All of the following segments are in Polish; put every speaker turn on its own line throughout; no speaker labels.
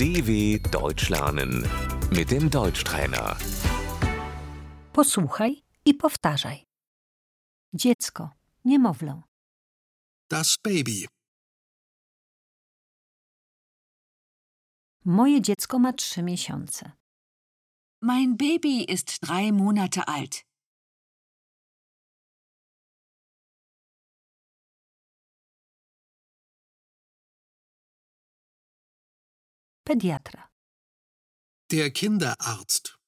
DW Deutsch lernen mit dem Deutschtrainer.
Posłuchaj i powtarzaj. Dziecko, niemowlę,
Das Baby.
moje dziecko ma trzy miesiące.
Mein Baby ist drei Monate alt.
Pediatra,
Der Kinderarzt.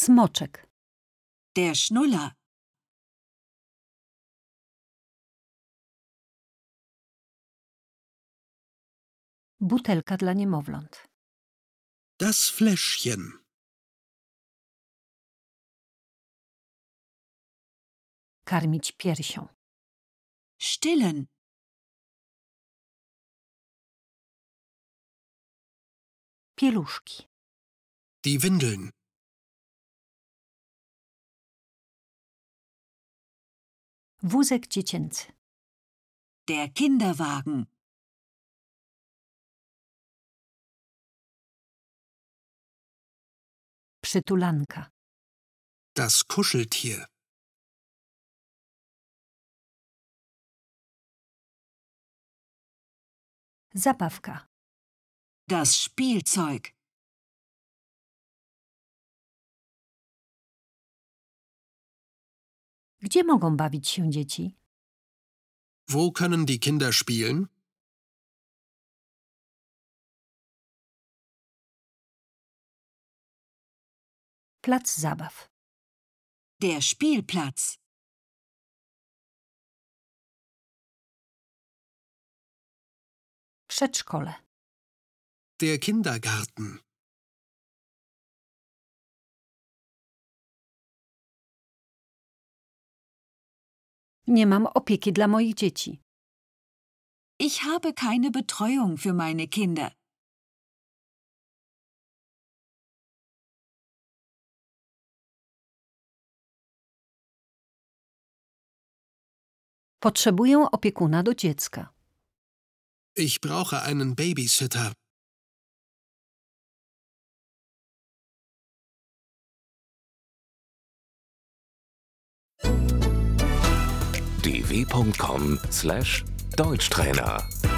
smoczek,
Der Schnuller.
butelka dla niemowląt,
Das Fläschchen.
karmić piersią,
Stillen.
pieluszki,
Die Windeln.
wózek dziecięcy,
Der Kinderwagen.
przytulanka,
Das Kuscheltier.
zabawka,
Das Spielzeug.
Gdzie mogą bawić się dzieci?
Wo können die Kinder spielen?
Plac zabaw,
Der Spielplatz.
przedszkole,
Der Kindergarten.
nie mam opieki dla moich dzieci,
Ich habe keine Betreuung für meine Kinder.
potrzebuję opiekuna do dziecka.
Ich brauche einen Babysitter.
dw.com/deutschtrainer